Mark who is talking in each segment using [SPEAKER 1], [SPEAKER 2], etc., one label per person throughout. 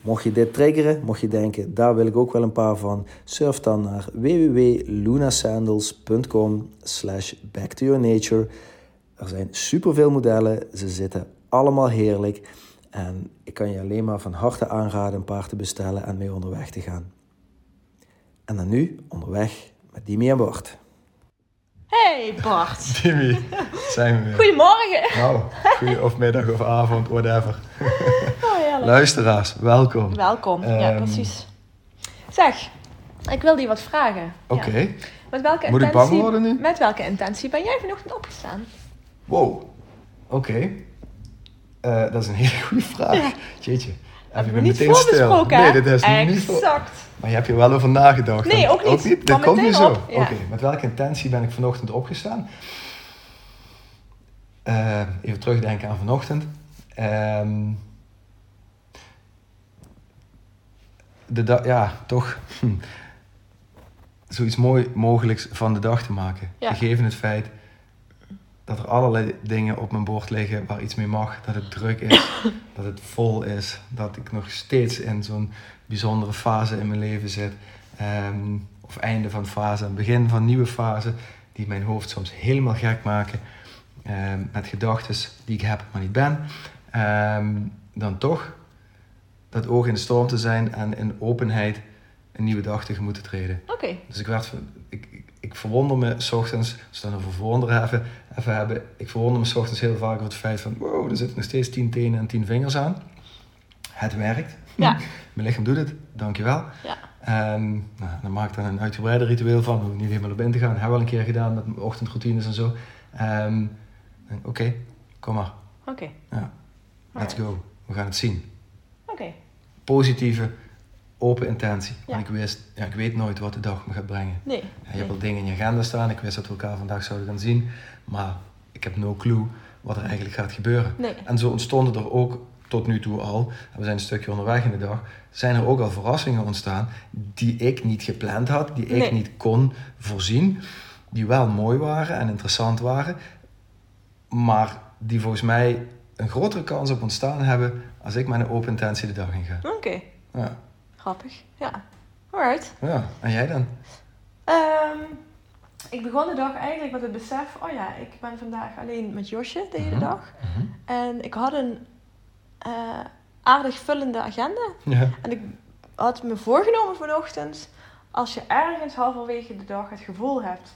[SPEAKER 1] mocht je dit triggeren, mocht je denken, daar wil ik ook wel een paar van, surf dan naar www.lunasandals.com slash back to your nature er zijn superveel modellen. Ze zitten allemaal heerlijk. En ik kan je alleen maar van harte aanraden een paar te bestellen en mee onderweg te gaan. En dan nu onderweg met Dimi aan boord.
[SPEAKER 2] Hey Bart!
[SPEAKER 3] Timmy, zijn we weer.
[SPEAKER 2] Goedemorgen!
[SPEAKER 3] Nou, goeie of middag of avond, whatever.
[SPEAKER 2] Oh, heerlijk.
[SPEAKER 3] Luisteraars, welkom. Oké,
[SPEAKER 2] Welkom, ja
[SPEAKER 3] Ehm.
[SPEAKER 2] precies. Zeg, ik wil die wat vragen. Ja. Met welke
[SPEAKER 3] Moet ik
[SPEAKER 2] intentie,
[SPEAKER 3] bang worden nu?
[SPEAKER 2] Met welke intentie ben jij vanochtend opgestaan?
[SPEAKER 3] wow. Oké. Eh, dat is een hele goede vraag. Jeetje. Heb je me
[SPEAKER 2] niet
[SPEAKER 3] meteen stil?
[SPEAKER 2] voorbesproken, hè?
[SPEAKER 3] Nee, dit is niet voor...
[SPEAKER 2] Exact.
[SPEAKER 3] Maar je hebt je wel over nagedacht.
[SPEAKER 2] Nee, ook niet.
[SPEAKER 3] Dat
[SPEAKER 2] Kwam
[SPEAKER 3] komt
[SPEAKER 2] meteen
[SPEAKER 3] niet zo.
[SPEAKER 2] op, ja.
[SPEAKER 3] Oké, met welke intentie ben ik vanochtend opgestaan? Eh, even terugdenken aan vanochtend. Ehm, de dag, ja, toch hm, zoiets mooi mogelijks van de dag te maken.
[SPEAKER 2] Ja.
[SPEAKER 3] Gegeven het feit dat er allerlei dingen op mijn bord liggen waar iets mee mag. Dat het druk is, dat het vol is, dat ik nog steeds in zo'n bijzondere fase in mijn leven zit. Ehm, of einde van fase en begin van nieuwe fase, die mijn hoofd soms helemaal gek maken. Ehm, met gedachten die ik heb, maar niet ben. Ehm, dan toch dat oog in de storm te zijn en in openheid een nieuwe dag tegemoet te treden.
[SPEAKER 2] Oké,
[SPEAKER 3] Dus ik, werd, van- ik, ik, ik verwonder me 's ochtends, als we het dan over verwonderen even, even hebben, ik verwonder me 's ochtends heel vaak over het feit van, wow, er zitten nog steeds tien tenen en tien vingers aan. Het werkt.
[SPEAKER 2] Ja.
[SPEAKER 3] Mijn lichaam doet het, dankjewel.
[SPEAKER 2] ja.
[SPEAKER 3] Ehm nou, dan maak ik daar een uitgebreider ritueel van, hoef ik niet helemaal op in te gaan. Heb wel een keer gedaan met mijn ochtendroutines en zo. Ehm, dan, Oké, kom maar,
[SPEAKER 2] Oké,
[SPEAKER 3] ja, let's go, we gaan het zien.
[SPEAKER 2] oké.
[SPEAKER 3] Positieve, open intentie.
[SPEAKER 2] Ja.
[SPEAKER 3] Want ik, wist, ja, ik weet nooit wat de dag me gaat brengen.
[SPEAKER 2] Nee.
[SPEAKER 3] Ja, je hebt
[SPEAKER 2] nee.
[SPEAKER 3] al dingen in je agenda staan. Ik wist dat we elkaar vandaag zouden gaan zien. Maar ik heb no clue wat er eigenlijk gaat gebeuren.
[SPEAKER 2] Nee.
[SPEAKER 3] En zo ontstonden er ook tot nu toe al, en we zijn een stukje onderweg in de dag, zijn er ook al verrassingen ontstaan die ik niet gepland had, die ik
[SPEAKER 2] Nee.
[SPEAKER 3] niet kon voorzien, die wel mooi waren en interessant waren, maar die volgens mij een grotere kans op ontstaan hebben als ik met een open intentie de dag in ga.
[SPEAKER 2] Oké,
[SPEAKER 3] Ja,
[SPEAKER 2] grappig. Ja. Alright.
[SPEAKER 3] ja. en jij dan?
[SPEAKER 2] Ehm, ik begon de dag eigenlijk met het besef, oh ja, ik ben vandaag alleen met Josje de hele
[SPEAKER 3] Mhm.
[SPEAKER 2] dag. En ik had een eh, aardig vullende agenda.
[SPEAKER 3] Ja.
[SPEAKER 2] En ik had me voorgenomen vanochtend, als je ergens halverwege de dag het gevoel hebt,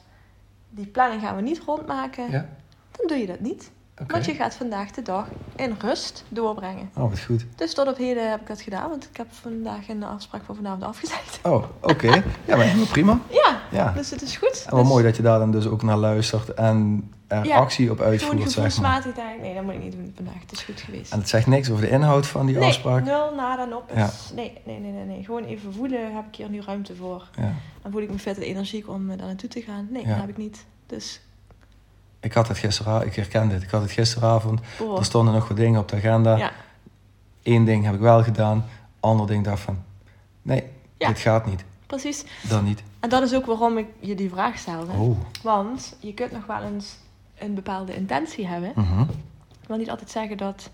[SPEAKER 2] die planning gaan we niet rondmaken,
[SPEAKER 3] Ja.
[SPEAKER 2] dan doe je dat niet.
[SPEAKER 3] Oké.
[SPEAKER 2] Want je gaat vandaag de dag in rust doorbrengen.
[SPEAKER 3] Oh, wat goed.
[SPEAKER 2] Dus tot op heden heb ik dat gedaan, want ik heb vandaag een afspraak voor vanavond afgezegd.
[SPEAKER 3] Oh, oké. Ja, maar helemaal prima.
[SPEAKER 2] Ja,
[SPEAKER 3] Ja.
[SPEAKER 2] dus het is goed.
[SPEAKER 3] En wat Ah. mooi dat je daar dan dus ook naar luistert en er
[SPEAKER 2] Ja,
[SPEAKER 3] actie op
[SPEAKER 2] je Gewoon
[SPEAKER 3] uitvoert, zeg maar.
[SPEAKER 2] gevoelsmatig denken, nee, dat moet ik niet doen vandaag, het is goed geweest.
[SPEAKER 3] En het zegt niks over de inhoud van die
[SPEAKER 2] nee,
[SPEAKER 3] afspraak.
[SPEAKER 2] nul, nada, nop.
[SPEAKER 3] Ja.
[SPEAKER 2] Dus Nee, nee, nee, nee, nee. Gewoon even voelen, heb ik hier nu ruimte voor?
[SPEAKER 3] Ja.
[SPEAKER 2] Dan voel ik me vet en energiek om eh, daar naartoe te gaan. Nee,
[SPEAKER 3] Ja.
[SPEAKER 2] dat heb ik niet. Dus,
[SPEAKER 3] Ik had het gisteravond, ik herken dit, ik had het gisteravond.
[SPEAKER 2] boor.
[SPEAKER 3] Er stonden nog wat dingen op de agenda.
[SPEAKER 2] Oh. Ja.
[SPEAKER 3] Eén ding heb ik wel gedaan, ander ding dacht van, nee,
[SPEAKER 2] Ja.
[SPEAKER 3] dit gaat niet.
[SPEAKER 2] Precies.
[SPEAKER 3] Dan niet.
[SPEAKER 2] En dat is ook waarom ik je die vraag stelde.
[SPEAKER 3] Oh.
[SPEAKER 2] Want je kunt nog wel eens een bepaalde intentie hebben.
[SPEAKER 3] Mhm.
[SPEAKER 2] wil niet altijd zeggen dat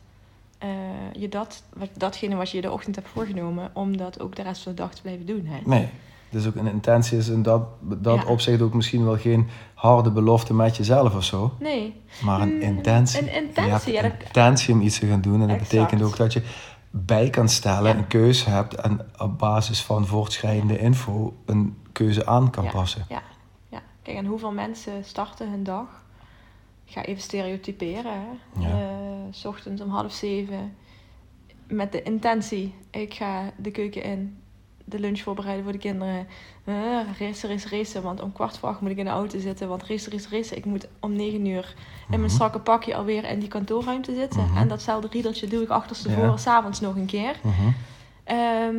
[SPEAKER 2] eh, je dat, wat, datgene wat je de ochtend hebt voorgenomen, om dat ook de rest van de dag te blijven doen. Hè?
[SPEAKER 3] Nee. Dus ook een intentie is in dat, dat
[SPEAKER 2] Ja.
[SPEAKER 3] opzicht ook misschien wel geen harde belofte met jezelf of zo.
[SPEAKER 2] Nee,
[SPEAKER 3] Maar een
[SPEAKER 2] Mm,
[SPEAKER 3] intentie.
[SPEAKER 2] een intentie,
[SPEAKER 3] Je
[SPEAKER 2] ja,
[SPEAKER 3] hebt
[SPEAKER 2] dat-
[SPEAKER 3] een intentie om iets te gaan doen. En dat
[SPEAKER 2] Exact.
[SPEAKER 3] betekent ook dat je bij kan stellen, een keuze hebt en op basis van voortschrijdende info een keuze aan kan
[SPEAKER 2] Ja.
[SPEAKER 3] passen.
[SPEAKER 2] ja. Kijk, en hoeveel mensen starten hun dag? Ik ga even stereotyperen. Hè?
[SPEAKER 3] Ja.
[SPEAKER 2] Eh, 's ochtends om half zeven. Met de intentie, ik ga de keuken in. De lunch voorbereiden voor de kinderen. Eh, racen, racen, racen. Want om kwart voor acht moet ik in de auto zitten. Want racen, racen, racen. Ik moet om negen uur in mijn
[SPEAKER 3] Mhm.
[SPEAKER 2] strakke pakje alweer in die kantoorruimte zitten.
[SPEAKER 3] Mhm.
[SPEAKER 2] En datzelfde riedeltje doe ik achterstevoren
[SPEAKER 3] Ja.
[SPEAKER 2] s'avonds nog een keer.
[SPEAKER 3] Mhm.
[SPEAKER 2] Ehm,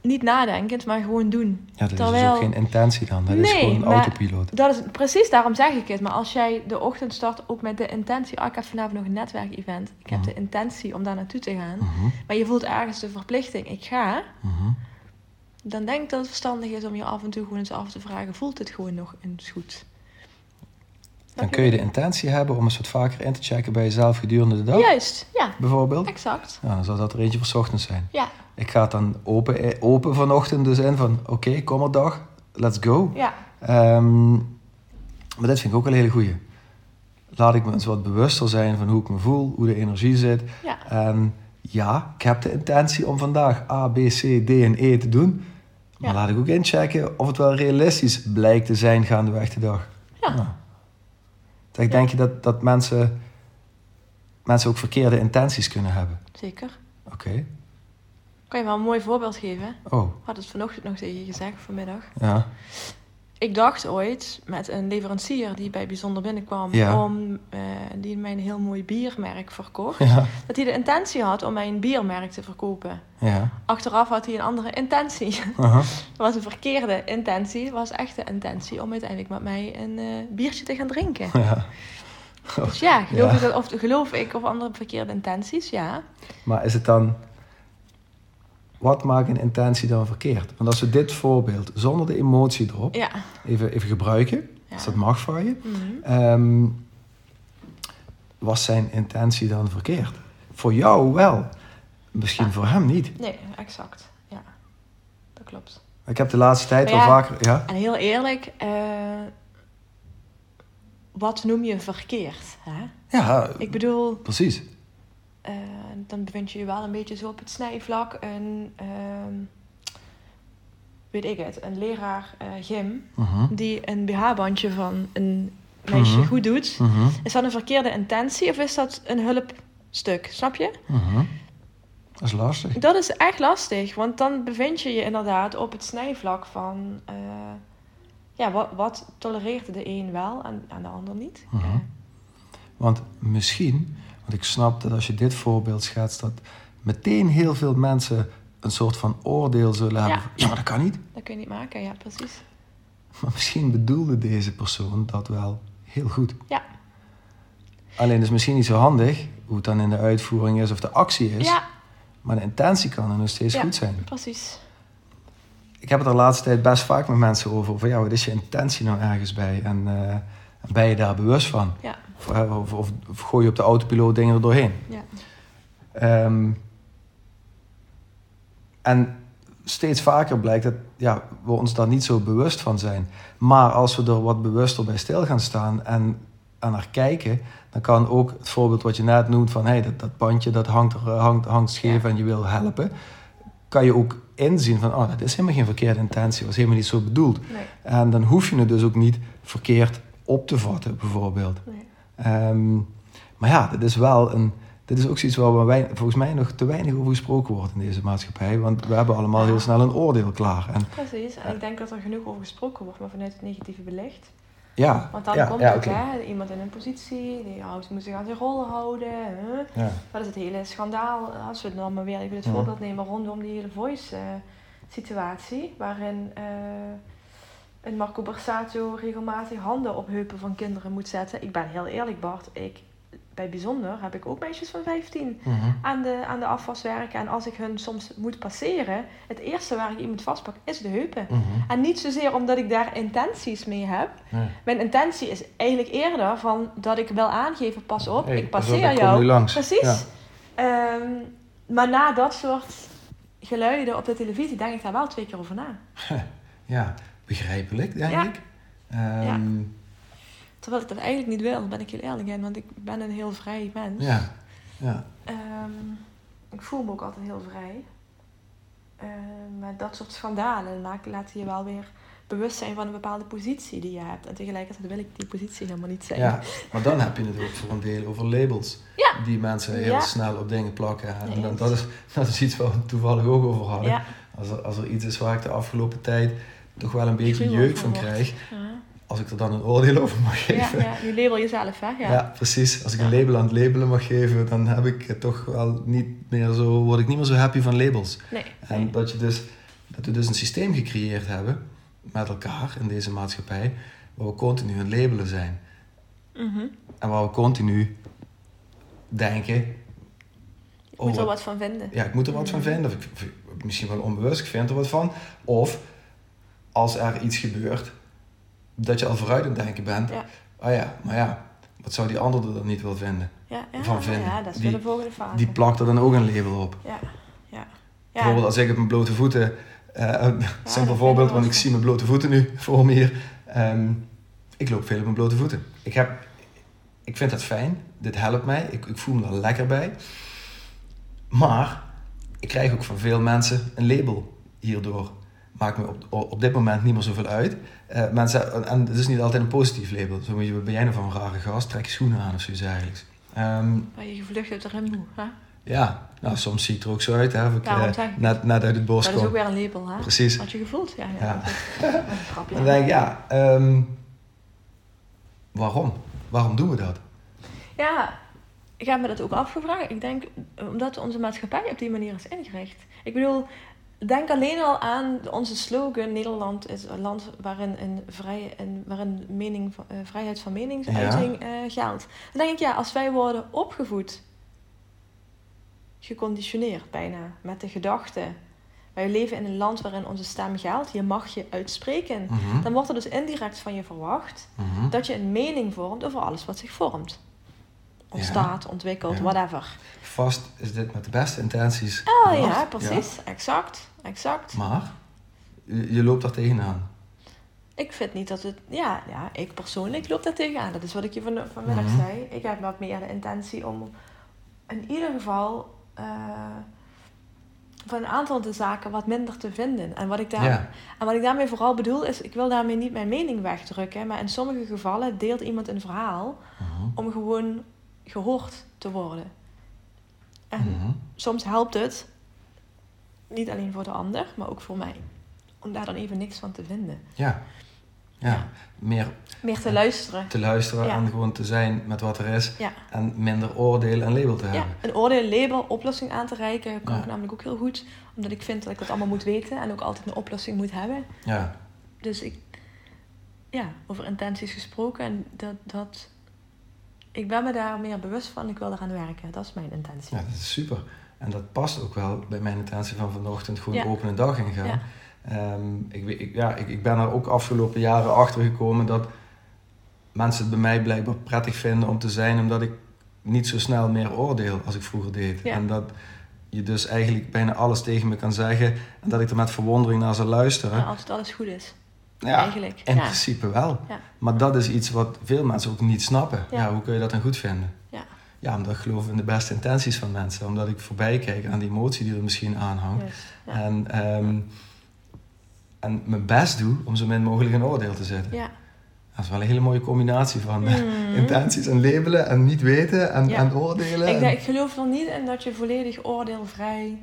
[SPEAKER 2] niet nadenkend, maar gewoon doen.
[SPEAKER 3] Ja, dat is dus
[SPEAKER 2] Terwijl-
[SPEAKER 3] ook geen intentie dan. Dat is
[SPEAKER 2] Nee,
[SPEAKER 3] gewoon een
[SPEAKER 2] maar-
[SPEAKER 3] autopiloot.
[SPEAKER 2] Dat is precies daarom zeg ik het. Maar als jij de ochtend start ook met de intentie, ah, ik heb vanavond nog een netwerkevent. Ik heb
[SPEAKER 3] Mhm.
[SPEAKER 2] de intentie om daar naartoe te gaan.
[SPEAKER 3] Mhm,
[SPEAKER 2] Maar je voelt ergens de verplichting, ik ga.
[SPEAKER 3] mhm.
[SPEAKER 2] Dan denk ik dat het verstandig is om je af en toe gewoon eens af te vragen, voelt het gewoon nog eens goed?
[SPEAKER 3] Dan kun je de intentie hebben om eens wat vaker in te checken bij jezelf gedurende de dag,
[SPEAKER 2] Juist, ja,
[SPEAKER 3] bijvoorbeeld.
[SPEAKER 2] exact.
[SPEAKER 3] Ja, dan zal dat er eentje voor 's ochtends zijn.
[SPEAKER 2] Ja,
[SPEAKER 3] Ik ga het dan open, eh, open vanochtend dus in van oké, kom op dag, let's go.
[SPEAKER 2] ja,
[SPEAKER 3] Ehm, maar dit vind ik ook wel een hele goeie. Laat ik me eens wat bewuster zijn van hoe ik me voel, hoe de energie zit.
[SPEAKER 2] ja.
[SPEAKER 3] En Ehm, ja, ik heb de intentie om vandaag A, B, C, D en E te doen. Maar
[SPEAKER 2] Ja.
[SPEAKER 3] laat ik ook inchecken of het wel realistisch blijkt te zijn gaandeweg de dag.
[SPEAKER 2] Ja.
[SPEAKER 3] Dus ik denk je dat, dat mensen, mensen ook verkeerde intenties kunnen hebben.
[SPEAKER 2] Zeker.
[SPEAKER 3] Oké.
[SPEAKER 2] Kan je wel een mooi voorbeeld geven?
[SPEAKER 3] Oh,
[SPEAKER 2] Ik had het vanochtend nog tegen je gezegd, vanmiddag.
[SPEAKER 3] ja.
[SPEAKER 2] Ik dacht ooit met een leverancier die bij Bijzonder binnenkwam,
[SPEAKER 3] Ja.
[SPEAKER 2] om, eh, die mij een heel mooi biermerk verkocht,
[SPEAKER 3] Ja,
[SPEAKER 2] dat hij de intentie had om mij een biermerk te verkopen.
[SPEAKER 3] ja.
[SPEAKER 2] Achteraf had hij een andere intentie.
[SPEAKER 3] Aha.
[SPEAKER 2] Het was een verkeerde intentie, het was echt de intentie om uiteindelijk met mij een eh, biertje te gaan drinken.
[SPEAKER 3] ja.
[SPEAKER 2] Dus ja, geloof,
[SPEAKER 3] Ja.
[SPEAKER 2] Ik, dat, of, geloof ik of andere verkeerde intenties, ja.
[SPEAKER 3] Maar is het dan. Wat maakt een intentie dan verkeerd? Want als we dit voorbeeld zonder de emotie erop
[SPEAKER 2] Ja.
[SPEAKER 3] even, even gebruiken,
[SPEAKER 2] ja.
[SPEAKER 3] als dat mag van je,
[SPEAKER 2] Mhm.
[SPEAKER 3] ehm, was zijn intentie dan verkeerd? Voor jou wel, misschien
[SPEAKER 2] Ja.
[SPEAKER 3] voor hem niet.
[SPEAKER 2] Nee, exact. Ja, dat klopt.
[SPEAKER 3] Ik heb de laatste tijd
[SPEAKER 2] Maar
[SPEAKER 3] wel
[SPEAKER 2] ja.
[SPEAKER 3] vaker. Ja?
[SPEAKER 2] En heel eerlijk, eh, wat noem je verkeerd? Hè?
[SPEAKER 3] ja,
[SPEAKER 2] Ik bedoel,
[SPEAKER 3] precies.
[SPEAKER 2] eh, dan bevind je je wel een beetje zo op het snijvlak. Een, ehm, weet ik het, een leraar eh, gym
[SPEAKER 3] Mhm,
[SPEAKER 2] die een BH-bandje van een meisje
[SPEAKER 3] Mhm.
[SPEAKER 2] goed doet.
[SPEAKER 3] mhm,
[SPEAKER 2] Is dat een verkeerde intentie of is dat een hulpstuk? Snap je?
[SPEAKER 3] mhm. Dat is lastig.
[SPEAKER 2] Dat is echt lastig, want dan bevind je je inderdaad op het snijvlak van... eh, ja, wat, wat tolereert de een wel en, en de ander niet? Eh,
[SPEAKER 3] Mhm.
[SPEAKER 2] Ja.
[SPEAKER 3] Want misschien, want ik snap dat als je dit voorbeeld schetst, dat meteen heel veel mensen een soort van oordeel zullen hebben.
[SPEAKER 2] Ja.
[SPEAKER 3] van, Ja, maar dat kan niet.
[SPEAKER 2] dat kun je niet maken, ja, precies.
[SPEAKER 3] Maar misschien bedoelde deze persoon dat wel heel goed.
[SPEAKER 2] Ja.
[SPEAKER 3] Alleen het is misschien niet zo handig hoe het dan in de uitvoering is of de actie is.
[SPEAKER 2] Ja,
[SPEAKER 3] Maar de intentie kan er nog steeds
[SPEAKER 2] Ja.
[SPEAKER 3] goed zijn.
[SPEAKER 2] precies.
[SPEAKER 3] Ik heb het de laatste tijd best vaak met mensen over. Van ja, wat is je intentie nou ergens bij? En eh, ben je daar bewust van?
[SPEAKER 2] Ja.
[SPEAKER 3] Of, eh, of, of- of gooi je op de autopiloot dingen er doorheen?
[SPEAKER 2] Ja.
[SPEAKER 3] Ehm, en steeds vaker blijkt dat ja, we ons daar niet zo bewust van zijn. Maar als we er wat bewuster bij stil gaan staan en aan naar kijken, dan kan ook het voorbeeld wat je net noemt van hey, dat, dat bandje dat hangt, er, eh, hangt, hangt scheef en je wil helpen, kan je ook inzien van oh, dat is helemaal geen verkeerde intentie, was helemaal niet zo bedoeld.
[SPEAKER 2] Nee,
[SPEAKER 3] En dan hoef je het dus ook niet verkeerd op te vatten, bijvoorbeeld.
[SPEAKER 2] nee.
[SPEAKER 3] Ehm, maar ja, dit is wel een. Dit is ook zoiets waar wij, volgens mij nog te weinig over gesproken wordt in deze maatschappij. Want we hebben allemaal heel snel een oordeel klaar. En
[SPEAKER 2] Precies, en ik denk dat er genoeg over gesproken wordt, maar vanuit het negatieve belicht.
[SPEAKER 3] ja,
[SPEAKER 2] Want dan
[SPEAKER 3] ja,
[SPEAKER 2] komt
[SPEAKER 3] ja,
[SPEAKER 2] het,
[SPEAKER 3] oké.
[SPEAKER 2] hè, iemand in een positie, die houdt, moet zich aan zijn rol houden. Hè?
[SPEAKER 3] Ja.
[SPEAKER 2] Dat is het hele schandaal, Ah, als we het dan maar weer even het
[SPEAKER 3] Mhm.
[SPEAKER 2] voorbeeld nemen rondom die hele voice-situatie, waarin eh, een Marco Borsato regelmatig handen op heupen van kinderen moet zetten. Ik ben heel eerlijk, Bart, ik bij Bijzonder heb ik ook meisjes van 15
[SPEAKER 3] Mhm.
[SPEAKER 2] aan de, aan de afwas werken. En als ik hun soms moet passeren, het eerste waar ik iemand vastpak is de heupen.
[SPEAKER 3] Mhm.
[SPEAKER 2] En niet zozeer omdat ik daar intenties mee heb.
[SPEAKER 3] Ja.
[SPEAKER 2] Mijn intentie is eigenlijk eerder van dat ik wil aangeven, pas op,
[SPEAKER 3] Hey,
[SPEAKER 2] ik
[SPEAKER 3] pas op,
[SPEAKER 2] passeer
[SPEAKER 3] ik kom
[SPEAKER 2] jou.
[SPEAKER 3] nu langs.
[SPEAKER 2] Precies.
[SPEAKER 3] Ja.
[SPEAKER 2] Ehm, maar na dat soort geluiden op de televisie denk ik daar wel twee keer over na.
[SPEAKER 3] Ja, begrijpelijk, denk
[SPEAKER 2] Ja.
[SPEAKER 3] ik. Ehm,
[SPEAKER 2] Terwijl ik dat eigenlijk niet wil, ben ik heel eerlijk in, want ik ben een heel vrij mens.
[SPEAKER 3] ja. ja.
[SPEAKER 2] Ehm, ik voel me ook altijd heel vrij. Ehm, maar dat soort schandalen maak- laten je wel weer bewust zijn van een bepaalde positie die je hebt. En tegelijkertijd wil ik die positie helemaal niet zijn.
[SPEAKER 3] Ja, maar dan heb je het ook voor een deel over labels.
[SPEAKER 2] Ja.
[SPEAKER 3] Die mensen heel
[SPEAKER 2] Ja.
[SPEAKER 3] snel op dingen plakken. En
[SPEAKER 2] Nee,
[SPEAKER 3] dan- dat, is, dat is iets waar we het toevallig ook over hadden.
[SPEAKER 2] Ja.
[SPEAKER 3] Als, er, als er iets is waar ik de afgelopen tijd toch wel een beetje
[SPEAKER 2] Gruwel
[SPEAKER 3] jeuk
[SPEAKER 2] van
[SPEAKER 3] van
[SPEAKER 2] wordt.
[SPEAKER 3] krijg,
[SPEAKER 2] Ja.
[SPEAKER 3] als ik er dan een oordeel over mag
[SPEAKER 2] Ja,
[SPEAKER 3] geven.
[SPEAKER 2] ja, je label jezelf, hè? Ja.
[SPEAKER 3] Ja. precies. Als ik een label aan het labelen mag geven, dan heb ik het toch wel niet meer zo, word ik niet meer zo happy van labels.
[SPEAKER 2] Nee.
[SPEAKER 3] En
[SPEAKER 2] nee.
[SPEAKER 3] dat, je dus, dat we dus een systeem gecreëerd hebben met elkaar in deze maatschappij, waar we continu aan het labelen zijn.
[SPEAKER 2] Mhm.
[SPEAKER 3] En waar we continu denken,
[SPEAKER 2] Ik
[SPEAKER 3] Oh,
[SPEAKER 2] moet er
[SPEAKER 3] wat-
[SPEAKER 2] wat van vinden.
[SPEAKER 3] ja, ik moet er wat van vinden. Of ik, of ik- misschien wel onbewust, ik vind er wat van. Of als er iets gebeurt, dat je al vooruit aan het denken bent.
[SPEAKER 2] Ja.
[SPEAKER 3] Ah ja, maar ja, wat zou die ander er dan niet wel vinden?
[SPEAKER 2] Ja, ja,
[SPEAKER 3] van vinden.
[SPEAKER 2] ja dat is
[SPEAKER 3] Die-
[SPEAKER 2] weer de volgende fase.
[SPEAKER 3] Die plakt er dan ook een label op.
[SPEAKER 2] ja, ja. ja.
[SPEAKER 3] Bijvoorbeeld als ik op mijn blote voeten, eh een
[SPEAKER 2] dat
[SPEAKER 3] simpel
[SPEAKER 2] vind
[SPEAKER 3] voorbeeld,
[SPEAKER 2] ik
[SPEAKER 3] want ik
[SPEAKER 2] lastig.
[SPEAKER 3] zie mijn blote voeten nu voor me hier. Ehm, ik loop veel op mijn blote voeten. Ik, heb, ik vind dat fijn, dit helpt mij, ik, ik voel me er lekker bij. Maar ik krijg ook van veel mensen een label hierdoor. Maakt me op, op dit moment niet meer zoveel uit. Eh, mensen, en het is niet altijd een positief label. Zo moet je, ben jij nou van een rare gast, trek je schoenen aan of zoiets eigenlijk. Ehm,
[SPEAKER 2] Waar je gevlucht uit de remboe, hè?
[SPEAKER 3] ja, nou soms zie ik er ook zo uit. Hè, of ik,
[SPEAKER 2] Daarom
[SPEAKER 3] eh,
[SPEAKER 2] zeg ik het.
[SPEAKER 3] net, net uit het bos
[SPEAKER 2] Dat is
[SPEAKER 3] kom.
[SPEAKER 2] ook weer een label, hè?
[SPEAKER 3] Precies.
[SPEAKER 2] Had je gevoeld, ja. ja,
[SPEAKER 3] Ja.
[SPEAKER 2] dat is- dat is een grapje.
[SPEAKER 3] Dan denk ik, ja, ehm, waarom? Waarom doen we dat?
[SPEAKER 2] Ja, ik heb me dat ook afgevraagd. Ik denk eh, omdat onze maatschappij op die manier is ingericht. Ik bedoel, denk alleen al aan onze slogan: Nederland is een land waarin, een vrij, en waarin mening, van- eh, vrijheid van meningsuiting eh, geldt. Dan denk ik, ja, als wij worden opgevoed, geconditioneerd bijna, met de gedachte: wij leven in een land waarin onze stem geldt, je mag je uitspreken.
[SPEAKER 3] Mhm,
[SPEAKER 2] Dan wordt er dus indirect van je verwacht
[SPEAKER 3] mhm.
[SPEAKER 2] dat je een mening vormt over alles wat zich vormt. Ontstaat, ontwikkelt,
[SPEAKER 3] Ja.
[SPEAKER 2] whatever.
[SPEAKER 3] Vast is dit met de beste intenties.
[SPEAKER 2] Oh
[SPEAKER 3] bedacht,
[SPEAKER 2] ja, precies. Exact. Exact.
[SPEAKER 3] ja. Maar je, je loopt daar tegenaan.
[SPEAKER 2] Ik vind niet dat het... Ja, ja, ik persoonlijk loop daar tegenaan. Dat is wat ik je van, vanmiddag
[SPEAKER 3] Mhm.
[SPEAKER 2] zei. Ik heb wat meer de intentie om in ieder geval... eh, van een aantal de zaken wat minder te vinden. En wat, ik daar,
[SPEAKER 3] Ja.
[SPEAKER 2] en wat ik daarmee vooral bedoel is... ik wil daarmee niet mijn mening wegdrukken... maar in sommige gevallen deelt iemand een verhaal...
[SPEAKER 3] Mhm,
[SPEAKER 2] om gewoon gehoord te worden. En
[SPEAKER 3] mhm.
[SPEAKER 2] soms helpt het, niet alleen voor de ander, maar ook voor mij, om daar dan even niks van te vinden.
[SPEAKER 3] Ja. ja,
[SPEAKER 2] Ja.
[SPEAKER 3] meer
[SPEAKER 2] Meer te luisteren.
[SPEAKER 3] te luisteren
[SPEAKER 2] Ja.
[SPEAKER 3] en gewoon te zijn met wat er is.
[SPEAKER 2] Ja.
[SPEAKER 3] En minder oordeel en label te
[SPEAKER 2] Ja,
[SPEAKER 3] hebben.
[SPEAKER 2] een oordeel, label, oplossing aan te reiken kan
[SPEAKER 3] Ja.
[SPEAKER 2] ik namelijk ook heel goed. Omdat ik vind dat ik dat allemaal moet weten en ook altijd een oplossing moet hebben.
[SPEAKER 3] Ja.
[SPEAKER 2] Dus ik, ja, over intenties gesproken. En dat, dat, ik ben me daar meer bewust van. Ik wil eraan werken. Dat is mijn intentie.
[SPEAKER 3] ja, dat is super. En dat past ook wel bij mijn intentie van vanochtend gewoon
[SPEAKER 2] Ja.
[SPEAKER 3] open een dag ingaan.
[SPEAKER 2] Ja.
[SPEAKER 3] Ehm, ik, weet- ik, ja, ik, ik ben er ook afgelopen jaren achter gekomen dat mensen het bij mij blijkbaar prettig vinden om te zijn, omdat ik niet zo snel meer oordeel als ik vroeger deed.
[SPEAKER 2] Ja.
[SPEAKER 3] En dat je dus eigenlijk bijna alles tegen me kan zeggen en dat ik er met verwondering naar zal luisteren.
[SPEAKER 2] Ja, als het alles goed is,
[SPEAKER 3] Ja,
[SPEAKER 2] eigenlijk.
[SPEAKER 3] in
[SPEAKER 2] ja.
[SPEAKER 3] principe wel.
[SPEAKER 2] Ja.
[SPEAKER 3] Maar dat is iets wat veel mensen ook niet snappen. Ja.
[SPEAKER 2] Ja.
[SPEAKER 3] hoe kun je dat dan goed vinden?
[SPEAKER 2] Ja.
[SPEAKER 3] ja, omdat ik geloof in de beste intenties van mensen. Omdat ik voorbij kijk aan die emotie die er misschien aan hangt.
[SPEAKER 2] Juist, ja.
[SPEAKER 3] En, ehm, en mijn best doe om zo min mogelijk een oordeel te zetten.
[SPEAKER 2] Ja.
[SPEAKER 3] Dat is wel een hele mooie combinatie van eh,
[SPEAKER 2] Mhm.
[SPEAKER 3] intenties en labelen en niet weten en,
[SPEAKER 2] Ja.
[SPEAKER 3] en oordelen.
[SPEAKER 2] Ik,
[SPEAKER 3] en-
[SPEAKER 2] denk, ik geloof er niet in dat je volledig oordeelvrij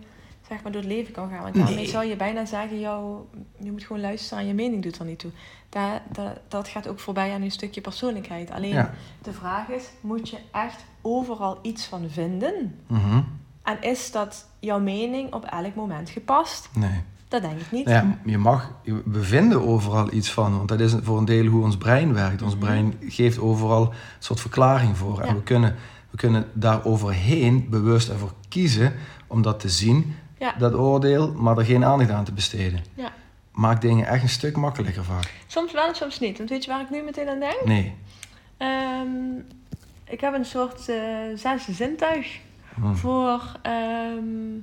[SPEAKER 2] zeg maar, door het leven kan gaan. Want daarmee
[SPEAKER 3] Nee.
[SPEAKER 2] zou je bijna zeggen, jou, je moet gewoon luisteren en je mening doet er niet toe. Daar, da- dat gaat ook voorbij aan een stukje persoonlijkheid. Alleen
[SPEAKER 3] Ja.
[SPEAKER 2] de vraag is, moet je echt overal iets van vinden?
[SPEAKER 3] Mhm.
[SPEAKER 2] En is dat jouw mening op elk moment gepast?
[SPEAKER 3] Nee.
[SPEAKER 2] Dat denk ik niet.
[SPEAKER 3] Nou ja, je mag, we vinden overal iets van, want dat is voor een deel hoe ons brein werkt. Ons brein geeft overal een soort verklaring voor. En
[SPEAKER 2] Mhm. Ja.
[SPEAKER 3] we kunnen We kunnen daar overheen bewust ervoor kiezen om dat te zien,
[SPEAKER 2] Ja.
[SPEAKER 3] dat oordeel, maar er geen aandacht aan te besteden.
[SPEAKER 2] Ja.
[SPEAKER 3] Maakt dingen echt een stuk makkelijker vaak.
[SPEAKER 2] Soms wel en soms niet. Want weet je waar ik nu meteen aan denk?
[SPEAKER 3] Nee.
[SPEAKER 2] Ehm, ik heb een soort eh zesde zintuig
[SPEAKER 3] Hm.
[SPEAKER 2] voor, ehm,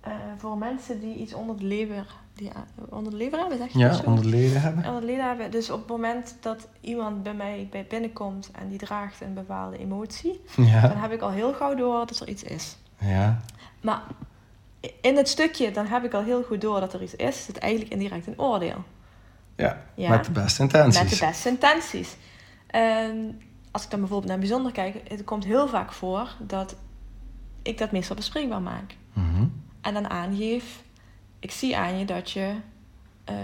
[SPEAKER 2] eh, voor mensen die iets onder de lever, die, a- onder de lever hebben, zeg je dat
[SPEAKER 3] Ja,
[SPEAKER 2] zo?
[SPEAKER 3] onder de leden hebben.
[SPEAKER 2] Onder de leden hebben. Dus op het moment dat iemand bij mij bij binnenkomt en die draagt een bepaalde emotie, dan
[SPEAKER 3] Ja.
[SPEAKER 2] heb ik al heel gauw door dat er iets is.
[SPEAKER 3] Ja.
[SPEAKER 2] Maar in het stukje, dan heb ik al heel goed door dat er iets is, zit eigenlijk indirect een oordeel.
[SPEAKER 3] ja.
[SPEAKER 2] Ja.
[SPEAKER 3] Met de beste intenties.
[SPEAKER 2] Met de beste intenties. En als ik dan bijvoorbeeld naar bijzonder kijk, het komt heel vaak voor dat ik dat meestal bespreekbaar maak.
[SPEAKER 3] Mhm.
[SPEAKER 2] En dan aangeef, ik zie aan je dat je eh,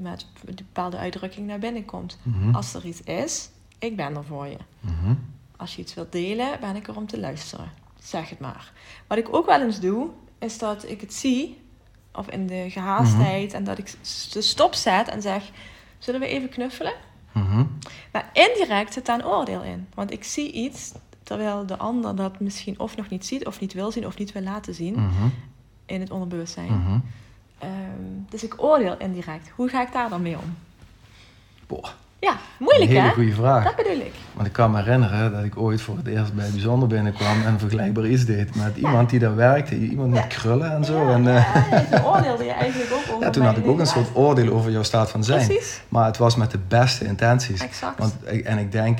[SPEAKER 2] met een bepaalde uitdrukking naar binnen komt.
[SPEAKER 3] Mhm.
[SPEAKER 2] Als er iets is, ik ben er voor je.
[SPEAKER 3] Mhm.
[SPEAKER 2] Als je iets wilt delen, ben ik er om te luisteren. Zeg het maar. Wat ik ook wel eens doe, is dat ik het zie, of in de gehaastheid,
[SPEAKER 3] Mhm.
[SPEAKER 2] en dat ik s- de stop zet en zeg: Zullen we even knuffelen?
[SPEAKER 3] Mhm.
[SPEAKER 2] Maar indirect zit daar een oordeel in. Want ik zie iets, terwijl de ander dat misschien of nog niet ziet, of niet wil zien, of niet wil laten zien
[SPEAKER 3] Mhm.
[SPEAKER 2] in het onderbewustzijn.
[SPEAKER 3] Mhm.
[SPEAKER 2] Ehm, dus ik oordeel indirect. Hoe ga ik daar dan mee om?
[SPEAKER 3] Boah,
[SPEAKER 2] Ja, moeilijk
[SPEAKER 3] een hele
[SPEAKER 2] hè?
[SPEAKER 3] goede vraag.
[SPEAKER 2] Dat bedoel ik.
[SPEAKER 3] Want ik kan me herinneren dat ik ooit voor het eerst bij Bijzonder binnenkwam en vergelijkbaar iets deed met iemand die daar werkte. Iemand met krullen en zo.
[SPEAKER 2] Ja,
[SPEAKER 3] en, eh,
[SPEAKER 2] ja, je oordeelde je eigenlijk ook over
[SPEAKER 3] ja, toen
[SPEAKER 2] mijn
[SPEAKER 3] had ik ook een soort oordeel over jouw staat van zijn.
[SPEAKER 2] Precies.
[SPEAKER 3] Maar het was met de beste intenties.
[SPEAKER 2] Exact.
[SPEAKER 3] Want, ik- en ik denk,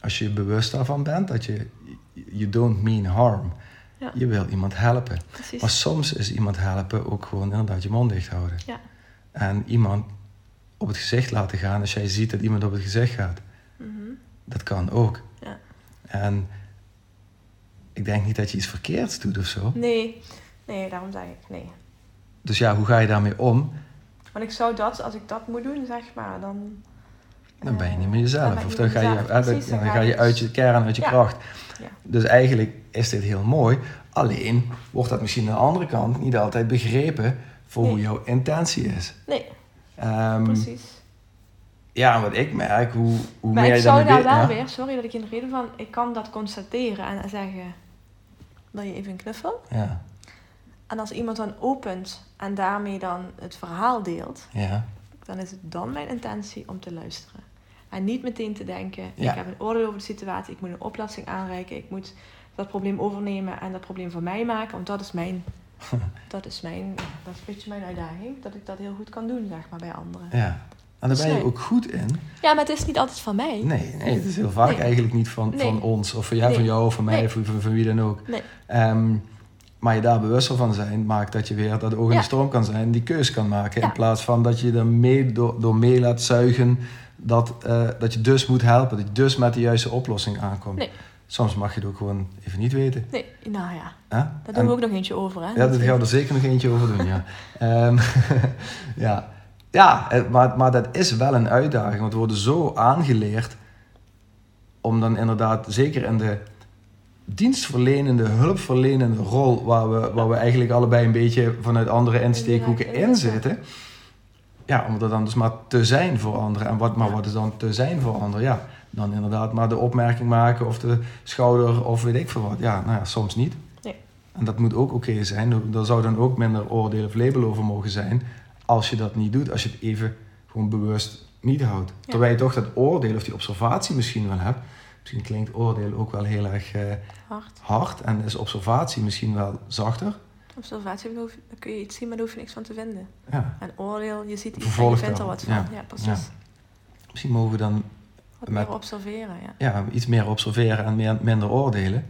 [SPEAKER 3] als je bewust daarvan bent, dat je, you don't mean harm.
[SPEAKER 2] Ja.
[SPEAKER 3] Je wil iemand helpen.
[SPEAKER 2] Precies.
[SPEAKER 3] Maar soms is iemand helpen ook gewoon inderdaad je mond dicht houden.
[SPEAKER 2] Ja.
[SPEAKER 3] En iemand op het gezicht laten gaan als jij ziet dat iemand op het gezicht gaat.
[SPEAKER 2] Mhm.
[SPEAKER 3] Dat kan ook.
[SPEAKER 2] Ja.
[SPEAKER 3] En ik denk niet dat je iets verkeerds doet of zo.
[SPEAKER 2] Nee, nee, daarom zei ik nee.
[SPEAKER 3] Dus ja, hoe ga je daarmee om?
[SPEAKER 2] Want ik zou dat, als ik dat moet doen, zeg maar, dan...
[SPEAKER 3] Dan ben je
[SPEAKER 2] eh,
[SPEAKER 3] niet meer jezelf.
[SPEAKER 2] dan ben je niet
[SPEAKER 3] of dan ga
[SPEAKER 2] meer
[SPEAKER 3] je,
[SPEAKER 2] jezelf.
[SPEAKER 3] hè, dan-
[SPEAKER 2] Precies,
[SPEAKER 3] dan ga je uit je kern, uit je
[SPEAKER 2] dus- Ja.
[SPEAKER 3] kracht.
[SPEAKER 2] Ja.
[SPEAKER 3] Dus eigenlijk is dit heel mooi. Alleen wordt dat misschien aan de andere kant niet altijd begrepen voor hoe
[SPEAKER 2] Nee.
[SPEAKER 3] jouw intentie is.
[SPEAKER 2] dus- Nee,
[SPEAKER 3] Ehm,
[SPEAKER 2] precies.
[SPEAKER 3] ja, wat ik merk, hoe, hoe
[SPEAKER 2] Maar
[SPEAKER 3] meer
[SPEAKER 2] ik
[SPEAKER 3] je daarmee
[SPEAKER 2] zou daar
[SPEAKER 3] bezig
[SPEAKER 2] wel
[SPEAKER 3] ja.
[SPEAKER 2] weer, sorry dat ik in de reden van, ik kan dat constateren en zeggen, wil je even een knuffel?
[SPEAKER 3] Ja,
[SPEAKER 2] En als iemand dan opent en daarmee dan het verhaal deelt,
[SPEAKER 3] ja,
[SPEAKER 2] dan is het dan mijn intentie om te luisteren. En niet meteen te denken,
[SPEAKER 3] Ja.
[SPEAKER 2] ik heb een oordeel over de situatie, ik moet een oplossing aanreiken, ik moet dat probleem overnemen en dat probleem van mij maken, want dat is mijn, dat is mijn, dat is een beetje mijn uitdaging, dat ik dat heel goed kan doen, zeg maar, bij anderen.
[SPEAKER 3] ja. En daar ben je
[SPEAKER 2] Nee.
[SPEAKER 3] ook goed in.
[SPEAKER 2] Ja, maar het is niet altijd van mij.
[SPEAKER 3] Nee, nee, het is heel vaak
[SPEAKER 2] Nee.
[SPEAKER 3] eigenlijk niet van,
[SPEAKER 2] Nee.
[SPEAKER 3] van ons of van, ja, van
[SPEAKER 2] Nee.
[SPEAKER 3] jou of van mij
[SPEAKER 2] Nee.
[SPEAKER 3] of van, van wie dan ook.
[SPEAKER 2] Nee.
[SPEAKER 3] Ehm, maar je daar bewuster van zijn maakt dat je weer dat oog in
[SPEAKER 2] Ja.
[SPEAKER 3] de storm kan zijn, die keus kan maken.
[SPEAKER 2] Ja.
[SPEAKER 3] In plaats van dat je er mee, door, door mee laat zuigen dat, eh, dat je dus moet helpen, dat je dus met de juiste oplossing aankomt.
[SPEAKER 2] Nee.
[SPEAKER 3] Soms mag je het ook gewoon even niet weten.
[SPEAKER 2] Nee, nou ja,
[SPEAKER 3] Hè?
[SPEAKER 2] daar
[SPEAKER 3] En-
[SPEAKER 2] doen we ook nog eentje over, hè?
[SPEAKER 3] ja, dat gaan we er zeker nog eentje over doen, ja. Ehm, ja, ja eh, maar, maar dat is wel een uitdaging. Want we worden zo aangeleerd om dan inderdaad, zeker in de dienstverlenende, hulpverlenende rol... waar we, waar we eigenlijk allebei een beetje vanuit andere insteekhoeken
[SPEAKER 2] Inderdaad,
[SPEAKER 3] in zitten... Ja, om er dan dus maar te zijn voor anderen. En wat, maar
[SPEAKER 2] Ja.
[SPEAKER 3] wat is dan te zijn voor anderen? Ja, dan inderdaad maar de opmerking maken of de schouder of weet ik veel wat. Ja, nou ja, soms niet. En dat moet ook oké zijn. Daar zou dan ook minder oordeel of label over mogen zijn. Als je dat niet doet, als je het even gewoon bewust niet houdt.
[SPEAKER 2] Ja.
[SPEAKER 3] Terwijl je toch dat oordeel of die observatie misschien wel hebt. Misschien klinkt oordeel ook wel heel erg eh,
[SPEAKER 2] Hard.
[SPEAKER 3] hard en is observatie misschien wel zachter.
[SPEAKER 2] Observatie, daar hoef- daar kun je iets zien, maar daar hoef je niks van te vinden.
[SPEAKER 3] Ja.
[SPEAKER 2] En oordeel, je ziet iets en je
[SPEAKER 3] Vervolgt
[SPEAKER 2] vindt er
[SPEAKER 3] dan.
[SPEAKER 2] wat van. Ja,
[SPEAKER 3] Ja.
[SPEAKER 2] precies.
[SPEAKER 3] Misschien mogen we dan
[SPEAKER 2] Wat
[SPEAKER 3] Met-
[SPEAKER 2] meer observeren, ja.
[SPEAKER 3] ja, iets meer observeren en meer, minder oordelen.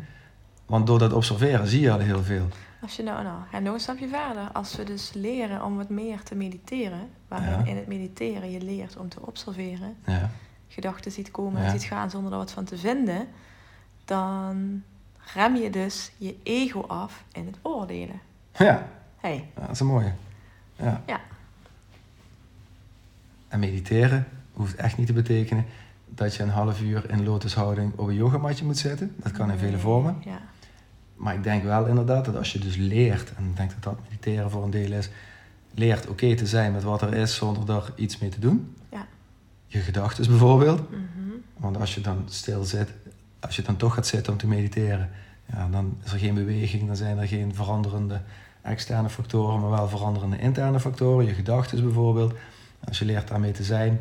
[SPEAKER 3] Want door dat observeren zie je al heel veel.
[SPEAKER 2] Als je nou, nou, ga nog een stapje verder. Als we dus leren om wat meer te mediteren, waarin
[SPEAKER 3] Ja.
[SPEAKER 2] in het mediteren je leert om te observeren,
[SPEAKER 3] Ja,
[SPEAKER 2] gedachten ziet komen en
[SPEAKER 3] Ja.
[SPEAKER 2] ziet gaan zonder er wat van te vinden, dan rem je dus je ego af in het oordelen.
[SPEAKER 3] ja
[SPEAKER 2] Hey,
[SPEAKER 3] dat is een mooie. Ja.
[SPEAKER 2] ja,
[SPEAKER 3] En mediteren hoeft echt niet te betekenen dat je een half uur in lotushouding op een yogamatje moet zitten. Dat kan in vele vormen.
[SPEAKER 2] ja.
[SPEAKER 3] Maar ik denk wel inderdaad dat als je dus leert, en ik denk dat dat mediteren voor een deel is, leert oké te zijn met wat er is zonder daar iets mee te doen.
[SPEAKER 2] Ja.
[SPEAKER 3] Je gedachten bijvoorbeeld.
[SPEAKER 2] Mhm.
[SPEAKER 3] Want als je dan stil zit, Als je dan toch gaat zitten om te mediteren, ja, dan is er geen beweging, dan zijn er geen veranderende externe factoren, maar wel veranderende interne factoren, je gedachten bijvoorbeeld. Als je leert daarmee te zijn,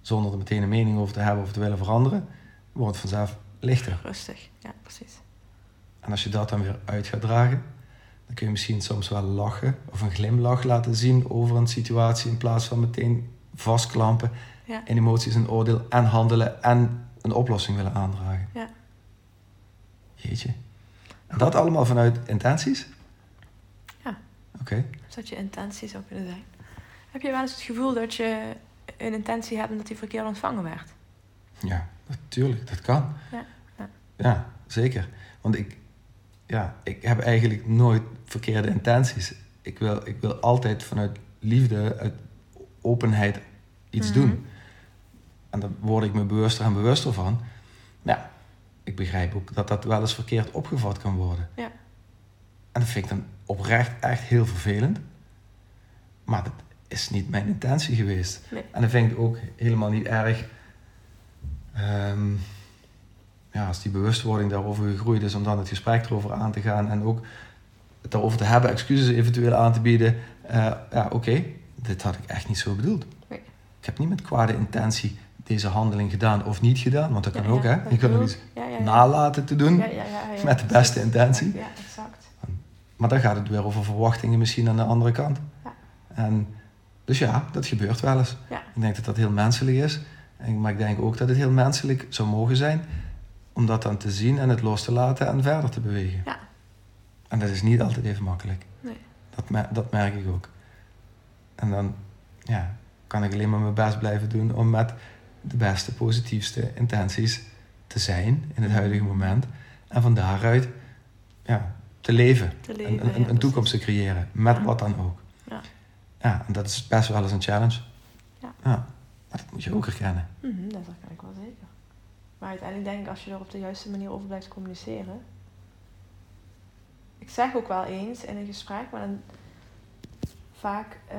[SPEAKER 3] zonder er meteen een mening over te hebben of te willen veranderen, wordt het vanzelf lichter.
[SPEAKER 2] Rustig, ja, precies.
[SPEAKER 3] En als je dat dan weer uit gaat dragen, dan kun je misschien soms wel lachen of een glimlach laten zien over een situatie in plaats van meteen vastklampen
[SPEAKER 2] Ja.
[SPEAKER 3] in emoties en oordeel en handelen en een oplossing willen aandragen.
[SPEAKER 2] Ja.
[SPEAKER 3] Jeetje. En dat allemaal vanuit intenties?
[SPEAKER 2] Ja.
[SPEAKER 3] Oké.
[SPEAKER 2] Zodat je intentie zou kunnen zijn. Heb je wel eens het gevoel dat je een intentie hebt en dat die verkeerd ontvangen werd?
[SPEAKER 3] Ja, natuurlijk, dat kan.
[SPEAKER 2] Ja, ja.
[SPEAKER 3] Ja, zeker. Want ik, ja, ik heb eigenlijk nooit verkeerde intenties. Ik wil, ik wil altijd vanuit liefde, uit openheid iets
[SPEAKER 2] Mhm.
[SPEAKER 3] doen. En daar word ik me bewuster en bewuster van. Nou, ik begrijp ook dat dat wel eens verkeerd opgevat kan worden.
[SPEAKER 2] Ja.
[SPEAKER 3] En dat vind ik dan oprecht echt heel vervelend. Maar dat is niet mijn intentie geweest.
[SPEAKER 2] Nee.
[SPEAKER 3] En dat vind ik ook helemaal niet erg. ehm, ja, als die bewustwording daarover gegroeid is, om dan het gesprek erover aan te gaan en ook het daarover te hebben, excuses eventueel aan te bieden. Eh, ja, oké, dit had ik echt niet zo bedoeld.
[SPEAKER 2] Nee.
[SPEAKER 3] Ik heb niet met kwade intentie deze handeling gedaan of niet gedaan, want dat kan
[SPEAKER 2] Ja,
[SPEAKER 3] ook,
[SPEAKER 2] ja,
[SPEAKER 3] hè? Je
[SPEAKER 2] dat
[SPEAKER 3] kan ook
[SPEAKER 2] bedoel
[SPEAKER 3] iets
[SPEAKER 2] ik. ja, ja, ja.
[SPEAKER 3] nalaten te doen.
[SPEAKER 2] Ja, ja, ja, ja.
[SPEAKER 3] met de beste intentie.
[SPEAKER 2] Ja, exact.
[SPEAKER 3] Maar dan gaat het weer over verwachtingen misschien aan de andere kant.
[SPEAKER 2] Ja.
[SPEAKER 3] En, dus ja, dat gebeurt wel eens.
[SPEAKER 2] Ja.
[SPEAKER 3] Ik denk dat dat heel menselijk is. En, maar ik denk ook dat het heel menselijk zou mogen zijn om dat dan te zien en het los te laten en verder te bewegen.
[SPEAKER 2] Ja.
[SPEAKER 3] En dat is niet altijd even makkelijk.
[SPEAKER 2] Nee.
[SPEAKER 3] Dat, mer- dat merk ik ook. En dan ja, kan ik alleen maar mijn best blijven doen om met de beste, positiefste intenties te zijn in het
[SPEAKER 2] Mhm.
[SPEAKER 3] huidige moment. En van daaruit ja, te leven
[SPEAKER 2] Te
[SPEAKER 3] een,
[SPEAKER 2] leven.
[SPEAKER 3] een,
[SPEAKER 2] ja,
[SPEAKER 3] een toekomst te creëren, met
[SPEAKER 2] Ja.
[SPEAKER 3] wat dan ook.
[SPEAKER 2] Ja.
[SPEAKER 3] Ja, en dat is best wel eens een challenge.
[SPEAKER 2] Ja.
[SPEAKER 3] Maar dat moet je ook herkennen.
[SPEAKER 2] precies. Mhm, dat kan ik wel zeker. Maar uiteindelijk denk ik, als je er op de juiste manier over blijft communiceren. Ik zeg ook wel eens in een gesprek, maar dan vaak eh,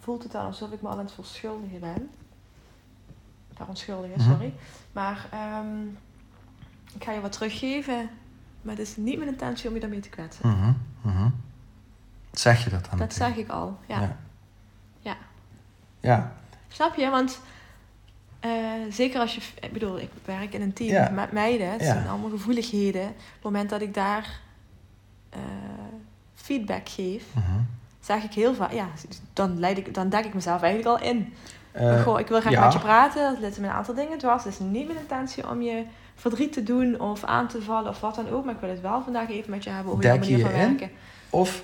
[SPEAKER 2] voelt het dan alsof ik me al aan het verschuldigen ben. Verontschuldigen,
[SPEAKER 3] Mhm.
[SPEAKER 2] sorry. Maar ehm, ik ga je wat teruggeven. Maar het is niet mijn intentie om je daarmee te kwetsen.
[SPEAKER 3] Mhm, mhm. Zeg je dat dan?
[SPEAKER 2] Dat
[SPEAKER 3] meteen?
[SPEAKER 2] zeg ik al, ja.
[SPEAKER 3] Ah, Ja.
[SPEAKER 2] Ja.
[SPEAKER 3] Ja,
[SPEAKER 2] Snap je? Want eh, zeker als je... Ik bedoel, ik werk in een team
[SPEAKER 3] Ja.
[SPEAKER 2] met meiden. Het
[SPEAKER 3] Ja.
[SPEAKER 2] zijn allemaal gevoeligheden. Op het moment dat ik daar eh, feedback geef,
[SPEAKER 3] mhm.
[SPEAKER 2] zeg ik heel vaak... Ja, dan, leid ik, dan dek ik mezelf eigenlijk al in.
[SPEAKER 3] Eh,
[SPEAKER 2] Goh, ik wil graag
[SPEAKER 3] ja.
[SPEAKER 2] met je praten. Dat letten me een aantal dingen dwars. Het is niet mijn intentie om je verdriet te doen of aan te vallen of wat dan ook. Maar ik wil het wel vandaag even met je hebben over jouw
[SPEAKER 3] Dek je
[SPEAKER 2] manier van
[SPEAKER 3] in?
[SPEAKER 2] werken.
[SPEAKER 3] of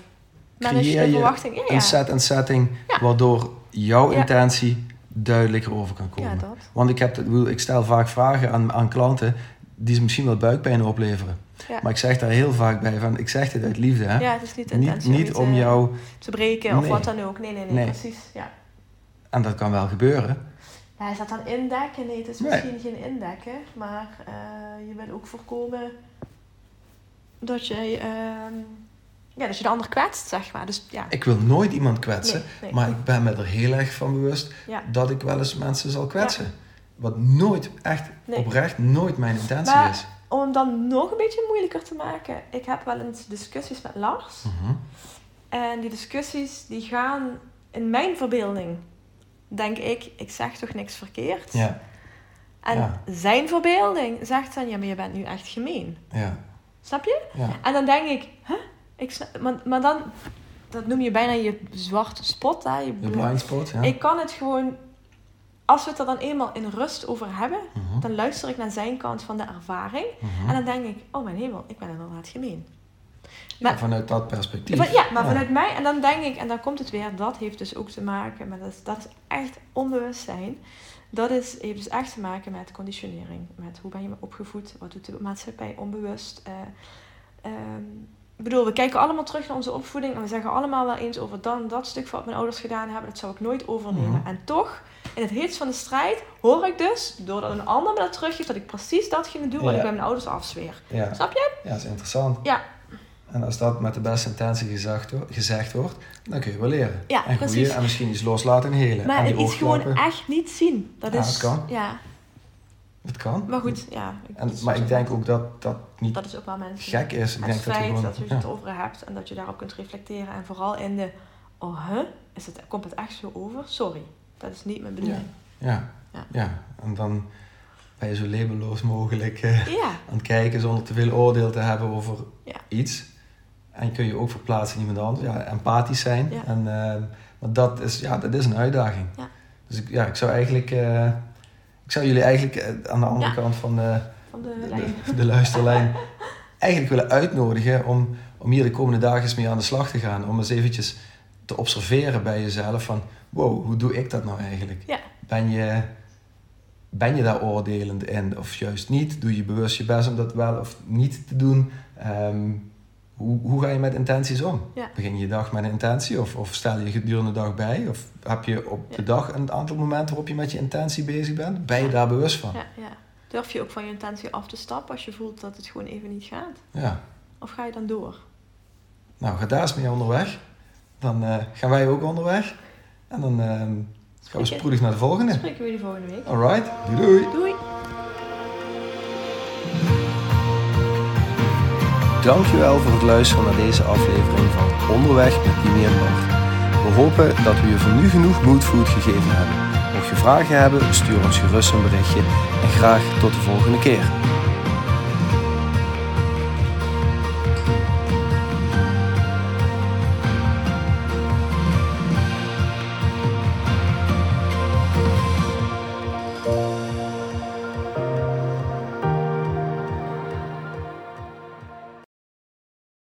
[SPEAKER 2] Maar als je
[SPEAKER 3] Creëer
[SPEAKER 2] de
[SPEAKER 3] je
[SPEAKER 2] verwachting... Ja,
[SPEAKER 3] een
[SPEAKER 2] ja.
[SPEAKER 3] set en setting
[SPEAKER 2] Ja.
[SPEAKER 3] waardoor jouw
[SPEAKER 2] Ja.
[SPEAKER 3] intentie duidelijker over kan
[SPEAKER 2] ja,
[SPEAKER 3] komen.
[SPEAKER 2] dat.
[SPEAKER 3] Want ik, heb, dat- ik bedoel, ik stel vaak vragen aan, aan klanten die ze misschien wel buikpijn opleveren.
[SPEAKER 2] Ja.
[SPEAKER 3] Maar ik zeg daar heel vaak bij van, ik zeg dit uit liefde. Hè?
[SPEAKER 2] Ja, het is niet de
[SPEAKER 3] niet
[SPEAKER 2] intentie eh,
[SPEAKER 3] niet
[SPEAKER 2] je
[SPEAKER 3] om
[SPEAKER 2] te-
[SPEAKER 3] jou
[SPEAKER 2] te breken of
[SPEAKER 3] Nee.
[SPEAKER 2] wat dan ook. Nee, nee, nee,
[SPEAKER 3] Nee.
[SPEAKER 2] precies. Ja.
[SPEAKER 3] En dat kan wel gebeuren.
[SPEAKER 2] Maar hij staat dan indekken. Nee, het is
[SPEAKER 3] Nee.
[SPEAKER 2] misschien geen indekken, maar eh, je wil ook voorkomen dat je, ehm, ja, dat je de ander kwetst, zeg maar. Dus ja,
[SPEAKER 3] Ik wil nooit iemand kwetsen,
[SPEAKER 2] Nee, nee.
[SPEAKER 3] maar ik ben me er heel erg van bewust
[SPEAKER 2] Ja.
[SPEAKER 3] dat ik wel eens mensen zal kwetsen. Wat nooit, echt
[SPEAKER 2] Nee.
[SPEAKER 3] oprecht, nooit mijn intentie
[SPEAKER 2] Maar-
[SPEAKER 3] is.
[SPEAKER 2] om hem dan nog een beetje moeilijker te maken. Ik heb wel eens discussies met Lars.
[SPEAKER 3] Mhm.
[SPEAKER 2] En die discussies die gaan in mijn verbeelding. Denk ik, ik zeg toch niks verkeerd?
[SPEAKER 3] Ja,
[SPEAKER 2] En
[SPEAKER 3] ja.
[SPEAKER 2] zijn verbeelding zegt dan, ja, maar je bent nu echt gemeen.
[SPEAKER 3] ja,
[SPEAKER 2] Snap je?
[SPEAKER 3] ja.
[SPEAKER 2] En dan denk ik, hè? Ik snap, maar, maar dan, dat noem je bijna je zwarte spot. Hè? Je
[SPEAKER 3] De
[SPEAKER 2] bedoel-
[SPEAKER 3] blind spot, ja.
[SPEAKER 2] Ik kan het gewoon, als we het er dan eenmaal in rust over hebben,
[SPEAKER 3] Mhm,
[SPEAKER 2] dan luister ik naar zijn kant van de ervaring.
[SPEAKER 3] mhm.
[SPEAKER 2] En dan denk ik, oh mijn hemel, ik ben inderdaad gemeen.
[SPEAKER 3] Ja, vanuit dat perspectief.
[SPEAKER 2] Van- ja, maar vanuit mij, en dan denk ik, en dan komt het weer, dat heeft dus ook te maken met, dat is, dat is echt onbewustzijn. Dat is, heeft dus echt te maken met conditionering. Met hoe ben je opgevoed, wat doet de maatschappij onbewust. eh, ehm, ik bedoel, we kijken allemaal terug naar onze opvoeding en we zeggen allemaal wel eens over dan dat stuk wat mijn ouders gedaan hebben, dat zou ik nooit overnemen.
[SPEAKER 3] Mhm.
[SPEAKER 2] En toch, in het heetst van de strijd, hoor ik dus, doordat een ander me dat teruggeeft, dat ik precies datgene doe wat
[SPEAKER 3] Ja.
[SPEAKER 2] ik bij mijn ouders afzweer.
[SPEAKER 3] Ja.
[SPEAKER 2] Snap je?
[SPEAKER 3] ja, dat is interessant.
[SPEAKER 2] Ja.
[SPEAKER 3] En als dat met de beste intentie gezegd, wo- gezegd wordt, dan kun je wel leren.
[SPEAKER 2] Ja,
[SPEAKER 3] en groeien
[SPEAKER 2] precies.
[SPEAKER 3] en misschien iets loslaten en helen.
[SPEAKER 2] Maar
[SPEAKER 3] en die
[SPEAKER 2] het iets gewoon
[SPEAKER 3] oogklappen.
[SPEAKER 2] echt niet zien. Dat
[SPEAKER 3] Ja,
[SPEAKER 2] is,
[SPEAKER 3] dat kan.
[SPEAKER 2] Ja.
[SPEAKER 3] Het kan.
[SPEAKER 2] Maar goed, ja. ik-
[SPEAKER 3] En,
[SPEAKER 2] dat is
[SPEAKER 3] maar
[SPEAKER 2] ook-
[SPEAKER 3] ik denk ook dat dat niet
[SPEAKER 2] Dat is ook wel mensen.
[SPEAKER 3] gek is. Ik
[SPEAKER 2] Het
[SPEAKER 3] denk dat we
[SPEAKER 2] feit
[SPEAKER 3] gewoon...
[SPEAKER 2] dat je
[SPEAKER 3] ja.
[SPEAKER 2] het over hebt en dat je daarop kunt reflecteren. En vooral in de, oh hè, is het, komt het echt zo over? Sorry, dat is niet mijn bedoeling.
[SPEAKER 3] Ja,
[SPEAKER 2] Ja.
[SPEAKER 3] ja. en dan ben je zo labelloos mogelijk eh,
[SPEAKER 2] Ja,
[SPEAKER 3] aan het kijken zonder te veel oordeel te hebben over
[SPEAKER 2] Ja.
[SPEAKER 3] iets. En kun je ook verplaatsen in iemand anders. Ja, empathisch zijn.
[SPEAKER 2] Ja.
[SPEAKER 3] En, eh, maar dat is, ja, dat is een uitdaging.
[SPEAKER 2] Ja.
[SPEAKER 3] Dus ik, ja, ik zou eigenlijk... eh, ik zou jullie eigenlijk eh, aan de andere
[SPEAKER 2] Ja.
[SPEAKER 3] kant van de,
[SPEAKER 2] van de
[SPEAKER 3] de,
[SPEAKER 2] lijn.
[SPEAKER 3] de- de luisterlijn... eigenlijk willen uitnodigen om, om hier de komende dagen eens mee aan de slag te gaan. Om eens eventjes te observeren bij jezelf van... Wow, hoe doe ik dat nou eigenlijk?
[SPEAKER 2] Ja.
[SPEAKER 3] Ben je, ben je daar oordelend in of juist niet? Doe je bewust je best om dat wel of niet te doen? Ehm, hoe, hoe ga je met intenties om?
[SPEAKER 2] Ja.
[SPEAKER 3] Begin je dag met een intentie of, of stel je gedurende de dag bij? Of heb je op
[SPEAKER 2] Ja.
[SPEAKER 3] de dag een aantal momenten waarop je met je intentie bezig bent? Ben je
[SPEAKER 2] Ja.
[SPEAKER 3] daar bewust van?
[SPEAKER 2] Ja, ja. Durf je ook van je intentie af te stappen als je voelt dat het gewoon even niet gaat?
[SPEAKER 3] Ja.
[SPEAKER 2] Of ga je dan door?
[SPEAKER 3] Nou, ga daar eens mee onderweg. Dan eh, gaan wij ook onderweg. En dan ehm, gaan we
[SPEAKER 2] Spreken-
[SPEAKER 3] spoedig naar de volgende.
[SPEAKER 2] Spreken we jullie volgende week.
[SPEAKER 3] Alright, doei doei!
[SPEAKER 2] Doei!
[SPEAKER 1] Dankjewel voor het luisteren naar deze aflevering van Onderweg met Dimi en Bart. We hopen dat we je voor nu genoeg mood food gegeven hebben. Mocht je vragen hebben, stuur ons gerust een berichtje en graag tot de volgende keer.